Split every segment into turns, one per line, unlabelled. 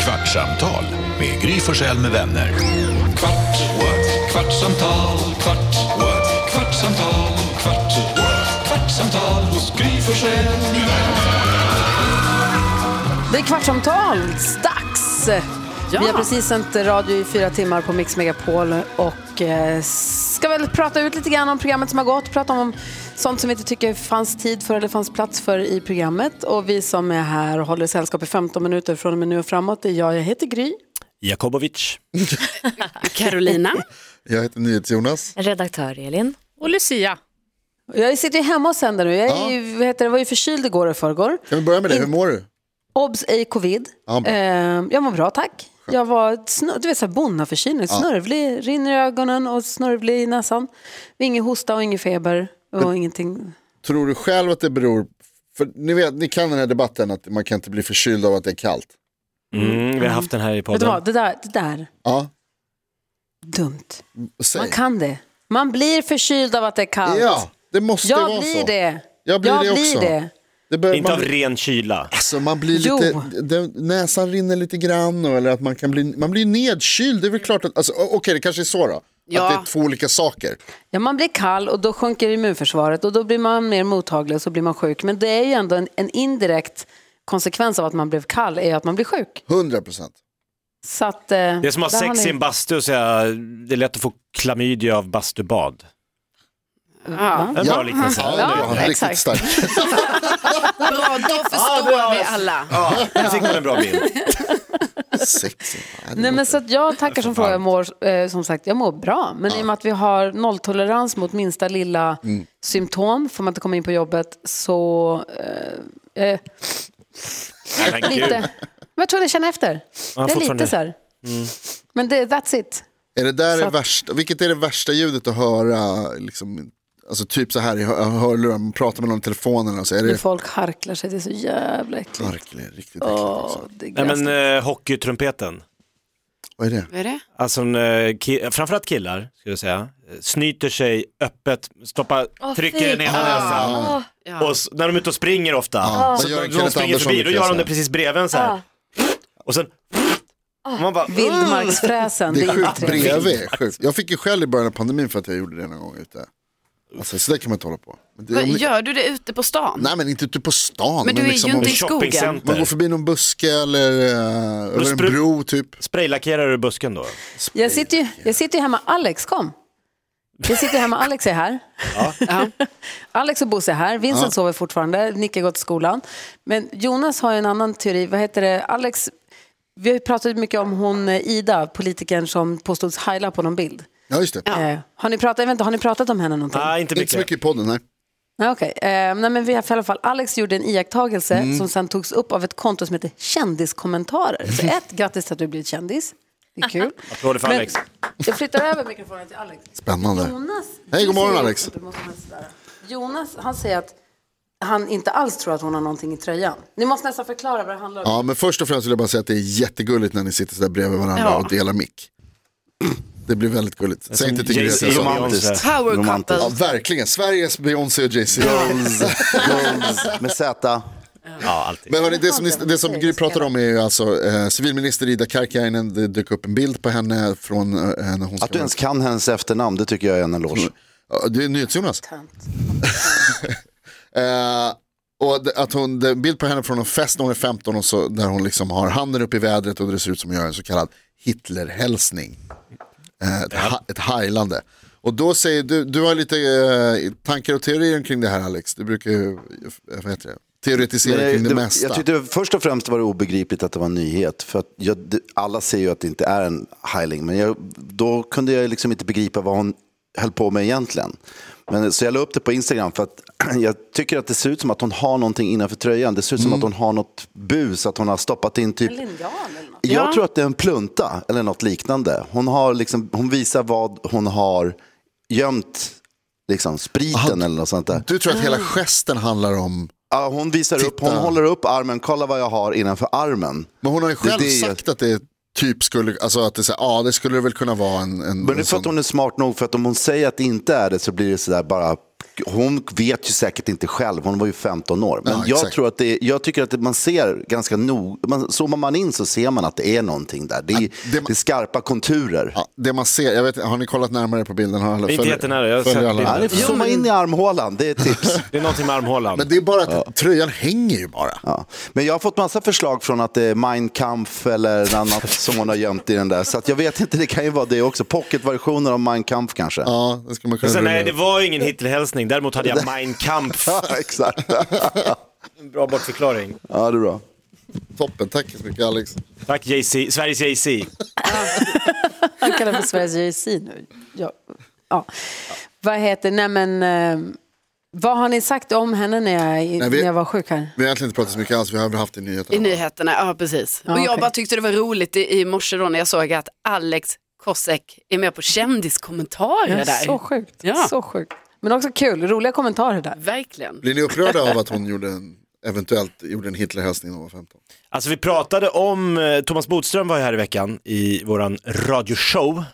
Kvartsamtal med Gry Forssell med vänner. Kvart, what? kvartsamtal, kvart, what? kvartsamtal, kvart, what? kvartsamtal hos Gry Forssell med vänner.
Det är kvartsamtalsdags!
Ja.
Vi har precis sänt radio i fyra timmar på Mix Megapol och eh, ska väl prata ut lite grann om programmet som har gått, prata om sånt som vi inte tycker fanns tid för eller fanns plats för i programmet. Och vi som är här och håller sällskap i 15 minuter från och med nu och framåt, det är jag, jag heter Gry.
Jakobovic.
Carolina.
Jag heter NyhetsJonas.
Redaktör Elin.
Och Lucia.
Jag sitter ju hemma och sänder nu, jag är ju, vad heter det, var ju förkyld igår och förrgår.
Kan vi börja med det? Hur mår du?
Obs, ej covid.
Ja, bra.
Ehm, jag mår bra, tack. Jag var snör, du vet, så här bonnaförkylning, snörvlig, rinner i ögonen och snörvlig i näsan. Ingen hosta och ingen feber och ingenting.
Tror du själv att det beror... För ni, vet, ni kan den här debatten att man kan inte bli förkyld av att det är kallt.
Mm, vi har haft den här i
Vet du
podden.
vad, det där, det där,
Ja,
dumt.
säg.
Man kan det. Man blir förkyld av att det är kallt.
Ja, det måste
jag
vara
blir
så.
det.
Jag blir det
blir
också.
det.
det bör,
Inte
man,
av ren kyla.
alltså, man blir lite...
Jo.
Det, näsan rinner lite grann och- eller att man kan bli... Man blir nedkyld. Det är väl klart att... Alltså, o- Okej, det kanske är så då.
Ja.
Att det är två olika saker.
Ja, man blir kall och då sjunker immunförsvaret och då blir man mer mottaglig och så blir man sjuk. Men det är ju ändå en, en indirekt konsekvens av att man blev kall är ju att man blir sjuk.
100 procent.
Så att, eh,
Det är som att
där
ha
har
sex
ni-
i en bastu och säga det är lätt att få klamydia av bastubad.
Ja.
En
Ja.
bra liknelse.
Ja,
Ja,
det var riktigt
exakt.
stark.
Bra, då förstår vi alla.
Ja, nu fick man en bra bild.
Sexy. Ja, det
Nej, men
låter-
så att jag tackar som frågar. Jag mår, eh, som sagt, jag mår bra. Men i och med att vi har nolltolerans mot minsta lilla symptom, får man inte komma in på jobbet, så... Eh, eh,
Nej, men
lite.
gud.
Men jag tror det känner efter.
Ja,
det är
fortfarande.
lite så här. Men det, that's it.
Är det där
Så
det
att-
värsta, vilket är det värsta ljudet att höra? Liksom, alltså typ så här i hör- hörlurar, man pratar med någon i telefonen och så är
När
det
folk harklar sig, det är så jävla äckligt.
Verkligen, riktigt äckligt också.
Åh, det är
Nej,
gräsligt.
men eh, hockeytrumpeten.
Vad är det?
Vad är det?
Alltså en, eh, ki- framförallt killar, skulle jag säga, eh, snyter sig öppet, stoppar, trycker den ena näsan. Och s- när de är ute och springer ofta,
Ja.
så
Vad gör
när de
Kenneth
springer
Andersson
förbi, då
brukar
gör de
säga?
det precis bredvid en så här. Och sen, och man bara, "Mm."
Vildmarksfräsen,
Det
det
är
är inte
sjukt
trevligt.
bredvid. är Sjukt. Jag fick ju själv i början av pandemin för att jag gjorde det någon gång ute. Alltså, så där kan man inte hålla på. Men det,
Vad,
om ni-
Gör du det ute på stan?
Nej men inte ute på stan.
Men du är ju
om,
inte i skogen.
shoppingcenter.
man går förbi någon buske eller, eh, eller en
sprut-
bro typ.
Spraylackerar du busken då?
Jag sitter ju, jag sitter ju hemma, Alex kom. Jag sitter hemma, Alex är här. Alex och Bosse är här, Vincent sover fortfarande, Nicke har gått till skolan. Men Jonas har ju en annan teori, vad heter det, Alex, vi har ju pratat mycket om hon eh, Ida, politikern som påstods heila på någon bild.
Ja just det.
Eh, har, ni pratat, jag vet inte, har ni pratat om henne någonting?
Nej, inte
Inte så
mycket.
mycket i podden, nej.
Nej, okej. Eh, nej, men vi har i alla fall, Alex gjorde en iakttagelse som sen togs upp av ett konto som heter Kändiskommentarer. Så ett, grattis till att du blivit kändis. Det är kul.
Applåder för
Men-
Alex.
Jag flyttar över mikrofonen till Alex.
Spännande.
Jonas,
Hej, god morgon,
Du ser
Alex.
ut som du måste ha en sådär. Jonas, han säger att han inte alls tror att hon har någonting i tröjan. Ni måste nästan förklara vad det handlar om.
Ja men först och främst vill jag bara säga att det är jättegulligt när ni sitter så där bredvid varandra
Ja.
och delar mick. Det blir väldigt gulligt. Säg inte till Gry att
Jay-Z
jag
och
sa det.
Beyoncé.
Power couple.
Ja, verkligen. Sveriges Beyoncé och Jay-Z.
med Z.
Ja, alltid.
Men hörni, det som, ni- det som Gry pratar om är ju alltså eh, civilminister Ida Karkiainen. Det dök upp en bild på henne från eh, när hon ska
Att du ens kan hennes efternamn, det tycker jag är en
Mm,
eloge.
Ja, Det är NyhetsJonas. eh, och det- att hon, det är en bild på henne från en fest när hon är 15 och så, där hon liksom har handen upp i vädret och det ser ut som att göra en så kallad Hitlerhälsning. Eh, ett, ha, ett heilande. Och då säger du, du har lite eh, tankar och teorier kring det här Alex. Du brukar ju, eh, vad heter det, teoretisera
Men
kring det,
det-
mesta.
jag tyckte först och främst var det obegripligt att det var en nyhet. För att jag, det- alla ser ju att det inte är en heiling, men jag, då kunde jag liksom inte begripa vad hon höll på med egentligen. Men, så jag la upp det på Instagram för att jag tycker att det ser ut som att hon har någonting innanför tröjan. Det ser ut
Mm.
som att hon har något bus, att hon har stoppat in typ...
Linjal eller något.
Jag tror att det är en plunta eller något liknande. Hon, har liksom, hon visar vad hon har gömt, liksom, spriten eller något sånt där.
Du tror att hela gesten handlar om,
Ja, hon visar upp, hon
Titta.
håller upp armen, kolla vad jag har innanför armen.
men hon har ju
Det är
själv
det jag-
sagt att det typ skulle, alltså att det är så här, ja det skulle det väl kunna vara en, en,
Men det är
en
för att hon är smart nog, för att om hon säger att det inte är det så blir det sådär bara hon vet ju säkert inte själv, hon var ju 15 år. Men
Ja,
jag,
exakt.
tror att det, är- jag tycker att det- man ser ganska nog, man, zoomar man in så ser man att det är någonting där. Det är,
det-
det, är skarpa konturer.
Ja, det man ser, jag vet, har ni kollat närmare på bilden? Har alla,
Inte jättenära, jag har
följer
sett
alla?
bilden.
Ja, ni får
Jo,
zooma
men-
in i armhålan, det är ett tips.
Det är någonting med armhålan.
Men det är bara att tröjan hänger ju bara.
Ja. Men jag har fått massa förslag från att det är Mein Kampf eller något annat som hon har gömt i den där. Så att jag vet inte, det kan ju vara det också. Pocketversioner av Mein Kampf kanske.
Ja, det ska man kunna
Men sen,
rulla
nej,
ut.
det var ju ingen Hitlerhälsning, däremot hade jag Mein Kampf.
Ja, exakt.
En Bra bortförklaring.
Ja, det är bra.
Toppen, tack så mycket Alex.
Tack Jay-Z, Sveriges Jay-Z.
Han kallar för Sveriges JC nu. Ja. Ja. Vad heter, nej men, eh, vad har ni sagt om henne när jag,
Nej, vi-
när jag var sjuk här?
Vi har egentligen inte pratat så mycket alls, vi har väl haft det i
I
nyheterna.
nyheterna, ja precis.
Ja,
och jag
okej.
bara tyckte det var roligt i, i morse då när jag såg att Alex Kosek är med på kändiskommentarer
Ja,
där.
Så sjukt,
Ja.
så sjukt. Men också kul, roliga kommentarer där.
Verkligen.
Blir ni upprörda av att hon gjorde en, eventuellt gjorde en Hitlerhälsning när hon var 15?
Alltså vi pratade om, eh, Thomas Bodström var ju här i veckan i våran radioshow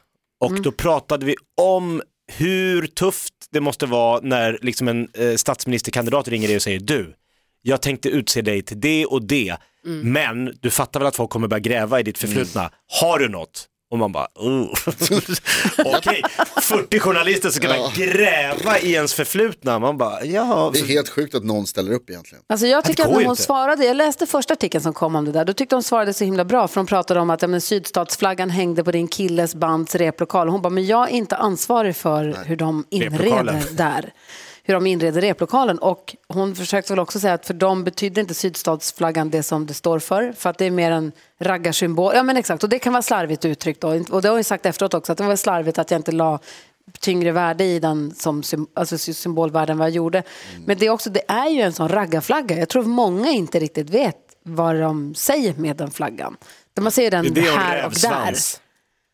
och
Mm.
då pratade vi om hur tufft det måste vara när liksom en eh, statsministerkandidat ringer dig och säger du, jag tänkte utse dig till det och det,
Mm.
men du fattar väl att folk kommer börja gräva i ditt förflutna, har du något? Och man bara, oh. okej, 40 journalister som kan börja gräva i ens förflutna, man bara, ja.
Det är helt sjukt att någon ställer upp egentligen.
Alltså jag tycker
det
att
går
när
ju
hon
inte.
svarade, jag läste första artikeln som kom om det där, då tyckte hon svarade så himla bra för hon pratade om att ja, men, sydstatsflaggan hängde på din killes bands replokal. Hon bara, men jag är inte ansvarig för hur de
Replokalen.
inreder där. Hur de inreder replokalen. Och hon försökte väl också säga att för dem betyder inte sydstatsflaggan det som det står för, för att det är mer en raggarsymbol. Ja men exakt, och det kan vara slarvigt uttryckt då. Och det har jag ju sagt efteråt också, att det var slarvigt att jag inte la tyngre värde i den som sym- alltså sy- symbolvärden vad jag gjorde.
Mm.
Men det är, också, det är ju en sån raggarflagga. Jag tror många inte riktigt vet vad de säger med den flaggan. Man ser den
Det är en
här och där.
rävsvans.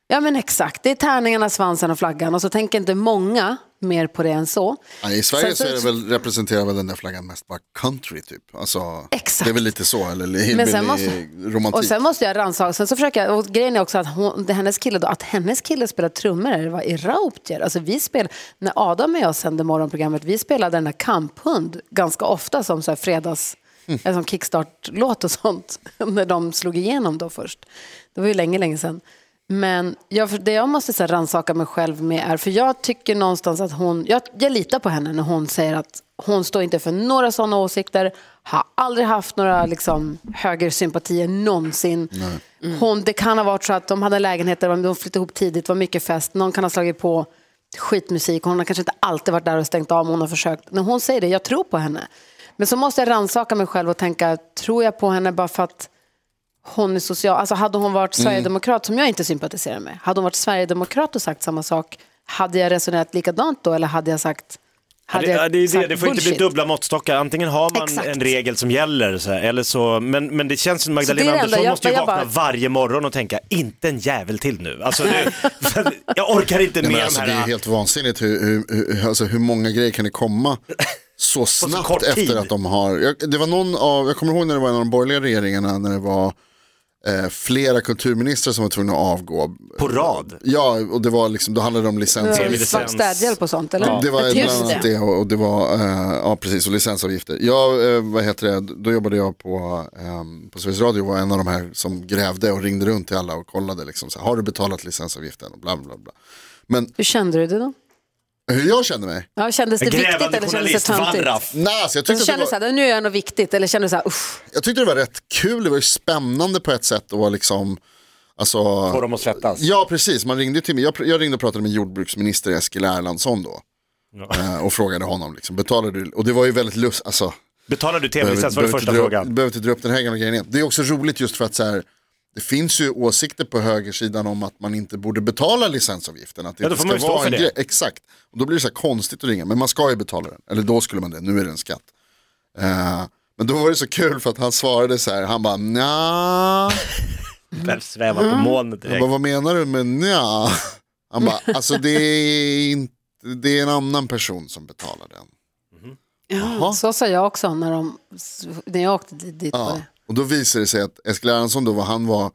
Ja men exakt, det är tärningarna, svansen och flaggan och så tänker inte många mer på det än så.
Ja, I Sverige
Sen
så är det väl, representerar väl den där flaggan mest bara country typ. Alltså,
Exakt.
Det är väl lite så, eller
Men
hillbilly
sen måste,
romantik.
och sen måste jag rannsaka, sen så försöker jag, och grejen är också att hon, det, hennes kille då, att hennes kille spelar trummor, det var i Rauptier. Alltså vi spelade, när Adam och jag sände morgonprogrammet, vi spelade den där Kamphund ganska ofta som så här fredags,
Mm.
eller som kickstart-låt och sånt, när de slog igenom då först. Det var ju länge, länge sedan. Men jag, för det jag måste så här rannsaka mig själv med är, för jag tycker någonstans att hon, jag, jag litar på henne när hon säger att hon står inte för några sådana åsikter, har aldrig haft några liksom, högersympatier någonsin. Mm. Hon, det kan ha varit så att de hade en lägenhet där de flyttade ihop tidigt, var mycket fest, någon kan ha slagit på skitmusik, hon har kanske inte alltid varit där och stängt av, men hon har försökt. När hon säger det, jag tror på henne. Men så måste jag rannsaka mig själv och tänka, tror jag på henne bara för att hon är social. Alltså hade hon
Mm.
varit sverigedemokrat, som jag inte sympatiserar med, hade hon varit sverigedemokrat och sagt samma sak, hade jag resonerat likadant då eller hade jag sagt
Ja,
hade
det, ja,
jag
det, är det.
sagt
det får inte
bullshit?
bli dubbla måttstockar, antingen har man
Exakt.
en regel som gäller, så här, eller så, men, men det känns
det
som Magdalena
är det
Andersson
enda. Jag-
måste ju
jag
vakna
bara-
varje morgon och tänka, inte en jävel till nu. Alltså, det, jag orkar inte
Nej,
med
men alltså,
de
det är
här.
helt vansinnigt hur, hur, hur, alltså, hur många grejer kan det komma så snabbt
kort tid.
efter att de har... Jag, det var någon av, jag kommer ihåg när det var en av de borgerliga regeringarna när det var eh, flera kulturministrar som var tvungna att avgå.
På rad.
Ja, och det var liksom, då handlade det om
Det
licenser.
var
Tv-licens.
Svart städhjälp och sånt eller?
Det- Det var bland
Just
annat det och, och det var, eh, ja precis, och licensavgifter. Jag, eh, vad heter det, då jobbade jag på, ehm, på Sveriges Radio och var en av de här som grävde och ringde runt till alla och kollade liksom, så här, har du betalat licensavgiften och bla bla bla. Men
Hur kände du det då?
hur jag kände mig?
Ja, kändes det viktigt
Grävande
eller kändes det
journalist,
töntigt?
Varraf.
Nej, alltså, jag,
Alltså,
tyckte att
kände
det
du så
var,
här, nu gör jag något viktigt eller kände du så här, usch,
jag tyckte det var rätt kul, det var ju spännande på ett sätt och var liksom, alltså,
Får de att svettas.
Ja, precis. Man ringde ju till mig. Jag, pr- jag ringde och pratade med jordbruksminister Eskil Erlandsson då. Eh, Och frågade honom, liksom, betalade du? Och det var ju väldigt lust, alltså,
Betalar du tv-licens var den
behöver
första
inte dra-
frågan.
behöver inte dra upp den här gamla grejen igen. Det är också roligt just för att så här, det finns ju åsikter på högersidan om att man inte borde betala licensavgiften. Att det
Ja, då
inte
får man ju
ska
stå
vara
för
en
det.
grej. Exakt. Och då blir det så här konstigt att ringa, men man ska ju betala den. Eller då skulle man det, nu är det en skatt. Eh, men då var det så kul för att han svarade så här, han bara nja.
Behöver sväva på molnet
Jag
direkt.
bara, vad menar du med nja? Han bara, alltså det är, inte, det är en annan person som betalar den.
så sa jag också när, de, när jag åkte dit. dit var
Ja.
det.
Och då visade det sig att Eskil Erlandsson då, vad han var,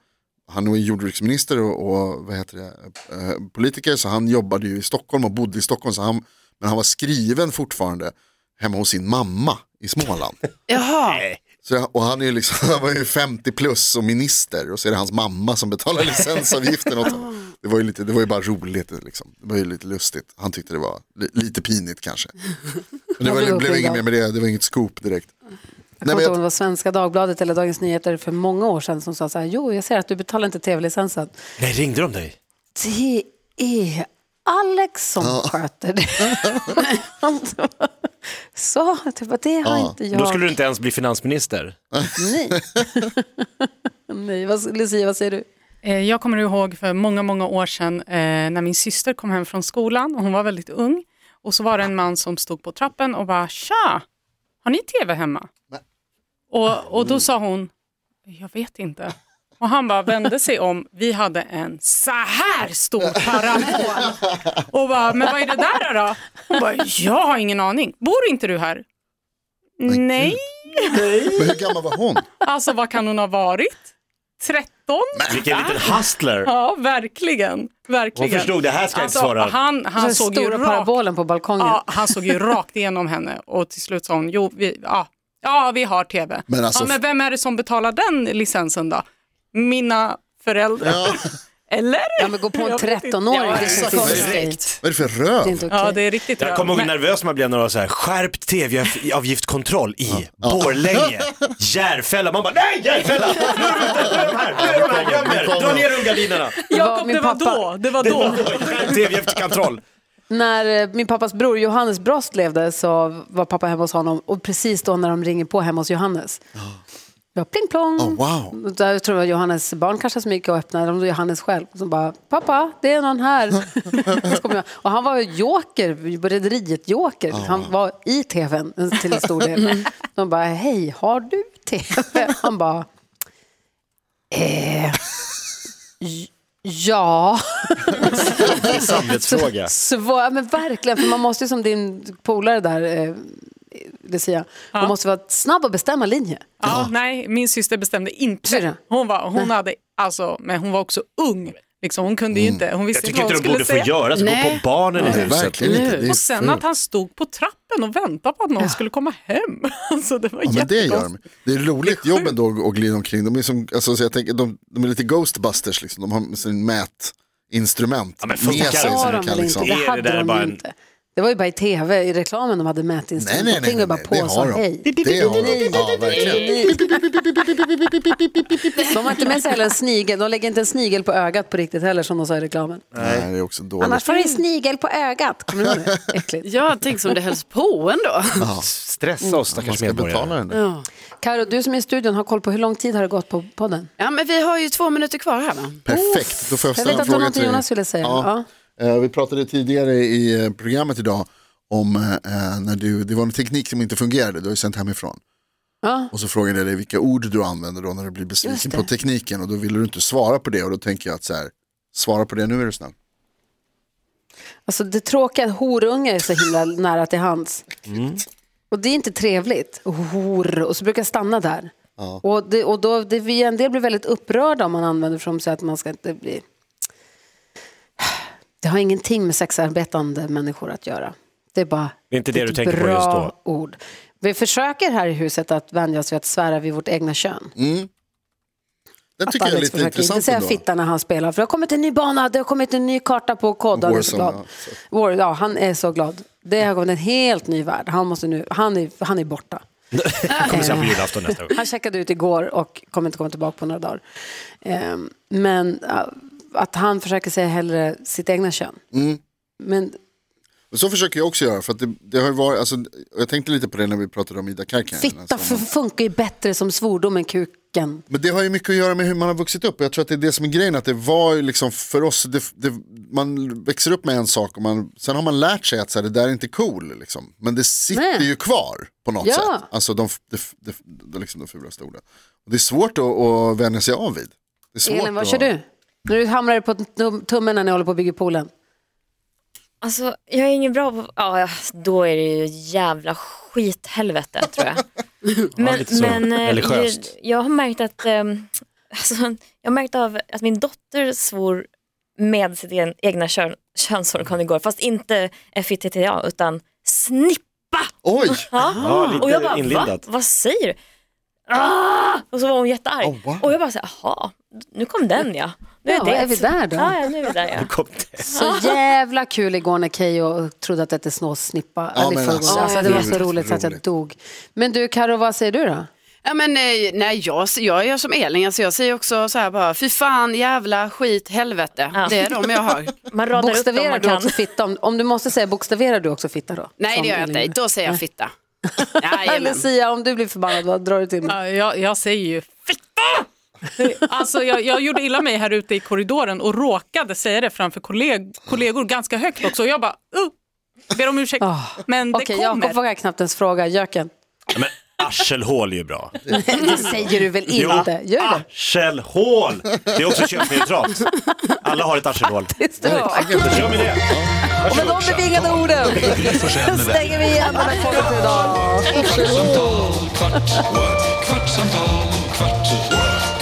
han var ju jordbruksminister och, och vad heter det, eh, politiker, så han jobbade ju i Stockholm och bodde i Stockholm, så han Men han var skriven fortfarande hemma hos sin mamma i Småland.
Jaha,
Så jag, och han, är ju liksom, han var ju 50 plus och minister och så är det hans mamma som betalar licensavgiften åt honom. Det var ju, lite, det var ju bara roligt, liksom. det var ju lite lustigt. Han tyckte det var li, lite pinigt kanske. Men det, var, det blev inget mer med det, det var inget scoop direkt. Nej,
Jag
men
kommer inte ihåg om
jag,
det var Svenska Dagbladet eller Dagens Nyheter för många år sedan som sa så här, jo jag ser att du betalar inte tv-licensen.
Nej, ringde de dig?
Det är Alex som sköter det. Han sa typ att det har inte jag.
Då skulle du inte ens bli finansminister.
Nej. Nej, vad, Lucia vad säger du?
Eh, Jag kommer ihåg för många, många år sedan eh, när min syster kom hem från skolan och hon var väldigt ung. Och så var det en man som stod på trappen och bara “Tja, har ni tv hemma?” och, och då sa hon “Jag vet inte”. Och han bara vände sig om, vi hade en så här stor parabol. Och bara, men vad är det där då? Hon bara, jag har ingen aning. Bor inte du här? Nej.
men hur gammal var hon?
Alltså vad kan hon ha varit? 13?
Vilken liten hustler.
Ja, verkligen. verkligen. Alltså,
Hon förstod, det här ska jag inte svara.
Han, han,
Den
såg ju
stora
rakt,
parabolen på balkongen.
ja, han såg ju rakt igenom henne och till slut sa hon, jo, vi, ja, ja, vi har tv.
Men alltså-
ja, men vem är det som betalar den licensen då? Mina föräldrar. Eller?
Ja, men gå på en
Jag vet inte.
13-åring,
Ja,
det känns ju konstigt.
Vad är det för
Det är
röv?
inte okej.
Ja, det är riktigt
Jag kommer ihåg hur
Men-
nervös man blev när det var så här, skärpt tv-avgiftskontroll i Borlänge, Järfälla. Man bara, nej Järfälla! Nu är de ute, nu är de här, nu är de här, göm er, dra ner rullgardinerna.
Jakob,
Min
det var
pappa-
då. Det var då.
Skärpt tv-avgiftskontroll.
När eh, min pappas bror Johannes Brost levde så var pappa hemma hos honom och precis då när de ringer på hemma hos Johannes. Ja, pling plong.
Oh, wow.
Och Där tror jag Johannes barn kanske som gick och öppnade, eller om det var Johannes själv, som bara “pappa, det är någon här”. Så kom jag. och han var ju joker, på Rederiet Joker.
Ah,
Han var i tvn en- till en stor del. De bara “hej, har du tv?” Han bara eh, j- “ja”.
Det är samvetsfråga.
Svår, men verkligen, för man måste ju som din polare där, eh, Lucia, man måste vara snabb och bestämma linje.
Ja, nej, min syster bestämde
Syrra.
inte. Hon var, hon hade, alltså, men hon var också ung. Liksom, hon kunde ju inte, hon
Mm. Jag
visste
tycker
inte vad
inte
hon
de
skulle
borde få
säga.
göra så, gå
Nej.
på barnen i
Nej,
huset.
verkligen inte. Det är
Och sen
fel.
att han stod på trappen och väntade på att någon skulle komma hem. Alltså, det var
Ja, men det gör de.
jättekonstigt.
Det är roligt jobb ändå att glida omkring. De är, som, alltså, så jag tänker, de, de är lite Ghostbusters, liksom. de har sin mätinstrument
Ja, men
med
funkar
sig.
det?
så
Har
de
de
kan
väl
liksom-
inte?
Är
Det
det
hade
där
de
bara
ju
en-
inte. Det var ju bara i tv, i reklamen de hade
Nej,
mätinstrument.
nej,
De
nej,
pingade
nej,
bara
nej.
på
det
och sa
har
hej.
de. Det har de. Ja, verkligen.
De har inte med sig heller en snigel, de lägger inte en snigel på ögat på riktigt heller som de sa i reklamen.
Nej, det är också dåligt.
Annars får du en snigel på ögat. Kommer du ihåg det? Äckligt.
ja, tänk som det hölls på ändå.
Stressa oss
Man
stackars
ska betala
medborgare.
den. där.
Ja.
Karo, du som är i studion har koll på hur lång tid har det gått på podden?
ja, men vi har ju två minuter kvar här va?
Perfekt, då får jag
Jag vet
ställa en
att det var
fråga
något
till
Jonas ville säga. Ja.
Ja. Eh, Vi pratade tidigare i eh, programmet idag om eh, när du, det var en teknik som inte fungerade, du har ju sänt hemifrån.
Ja.
Och så frågade jag dig vilka ord du använder då när du blir besviken
Just det.
på tekniken och då ville du inte svara på det och då tänker jag att så här, svara på det nu är du snäll.
Alltså det tråkiga är att horunge är så himla nära till hands.
Mm.
Och det är inte trevligt. Hor. Och så brukar jag stanna där. Och, det, och då, det, vi- en del blir väldigt upprörda om man använder för att säga att man ska inte bli... Det har ingenting med sexarbetande människor att göra. Det är bara
Det är inte det
ett
du tänker på
bra
just då.
ord. Vi försöker här i huset att vänja oss vid att svära vid vårt egna kön.
Den
Att
tycker jag är
Alex
lite
försöker inte
intressant
säga
ändå.
fitta när han spelar. För det har kommit en ny bana, det har kommit en ny karta på kod. Han är så
Warzone,
glad. War, ja, han är så glad. Det har kommit en helt ny värld. Han, måste nu, han, är, han är borta.
Jag kommer sen på julafton nästa gång.
Han checkade ut igår och kommer inte komma tillbaka på några dagar. Ehm, men ja, att han försöker säga hellre sitt egna kön.
Mm.
Men
Och Så försöker jag också göra för att det, det har ju varit, alltså, jag tänkte lite på det när vi pratade om Ida Karkiainen.
fitta
som-
f- funkar ju bättre som svordom än kuken.
Men det har ju mycket att göra med hur man har vuxit upp. Jag tror att det är det som är grejen. Att det var ju liksom för oss, det, det, man växer upp med en sak och man, sen har man lärt sig att så här, det där är inte cool. Liksom. Men det sitter
Nej.
ju kvar på något
Ja.
sätt. Alltså de, de, de, de, liksom de fulaste orden. Och det är svårt att, att vänja sig av vid. Det är svårt
Elin, vad
att...
kör du? När du hamrar på tum- tummen när ni håller på att bygga poolen.
Alltså, jag är ingen bra på... Ja, då är det ju jävla skithelvete, tror jag.
Ja, lite så.
eh,
Religiöst.
ju- jag har märkt att... ehm, alltså, jag har märkt av att min dotter svor med sitt en- egna kön könsorgan igår, fast inte FITTA utan snippa.
Oj!
Ja.
Ja, lite
och jag bara, va?
inlindat.
Vad säger du? Ah! Och så var hon jättearg.
Oh, wow.
Och jag bara, så här, jaha, nu kom den ja. Nu
Ja, är vi där då?
Ja, ja, nu är vi där ja.
Kom det.
Så jävla kul igår när Keyyo trodde att det hette snåsnippa.
Ja,
eller i
men
förrgår.
alltså,
alltså, det var så
gud,
roligt så att jag
roligt.
dog. Men du Karo, vad säger du då?
Ja, men, nej, nej, jag, jag gör som Elin, alltså, jag säger också så här bara, fy fan, jävla, skit, helvete.
Ja.
Det är de jag har.
Man radar upp dem
Bokstaverar
man
du
kan.
också fitta? Om, om du måste säga bokstaverar du också fitta då?
Nej,
Som
det gör jag
Elin
inte. Då säger jag fitta. Jajamän.
Lucia, om du blir förbannad, vad drar du till med?
Ja, jag, jag säger ju fitta! Alltså jag, jag gjorde illa mig här ute i korridoren och råkade säga det framför kolleg, kollegor ganska högt också. Och jag bara, uh, ber om ursäkt.
Ah.
Men det
Okej,
kommer.
Jakob vågar knappt ens fråga. Jöken.
Men arselhål är ju bra.
Det säger du väl inte? Gör
Ah.
det?
Arselhål! Det är också könsneutralt. Alla har ett arselhål.
Visst det var.
Då kör vi det.
Och med de bevingade orden
Gry Forssell med vänner.
stänger vi igen den här podden för idag.
Kvartsamtal, kvart, what? kvartsamtal, kvart, what?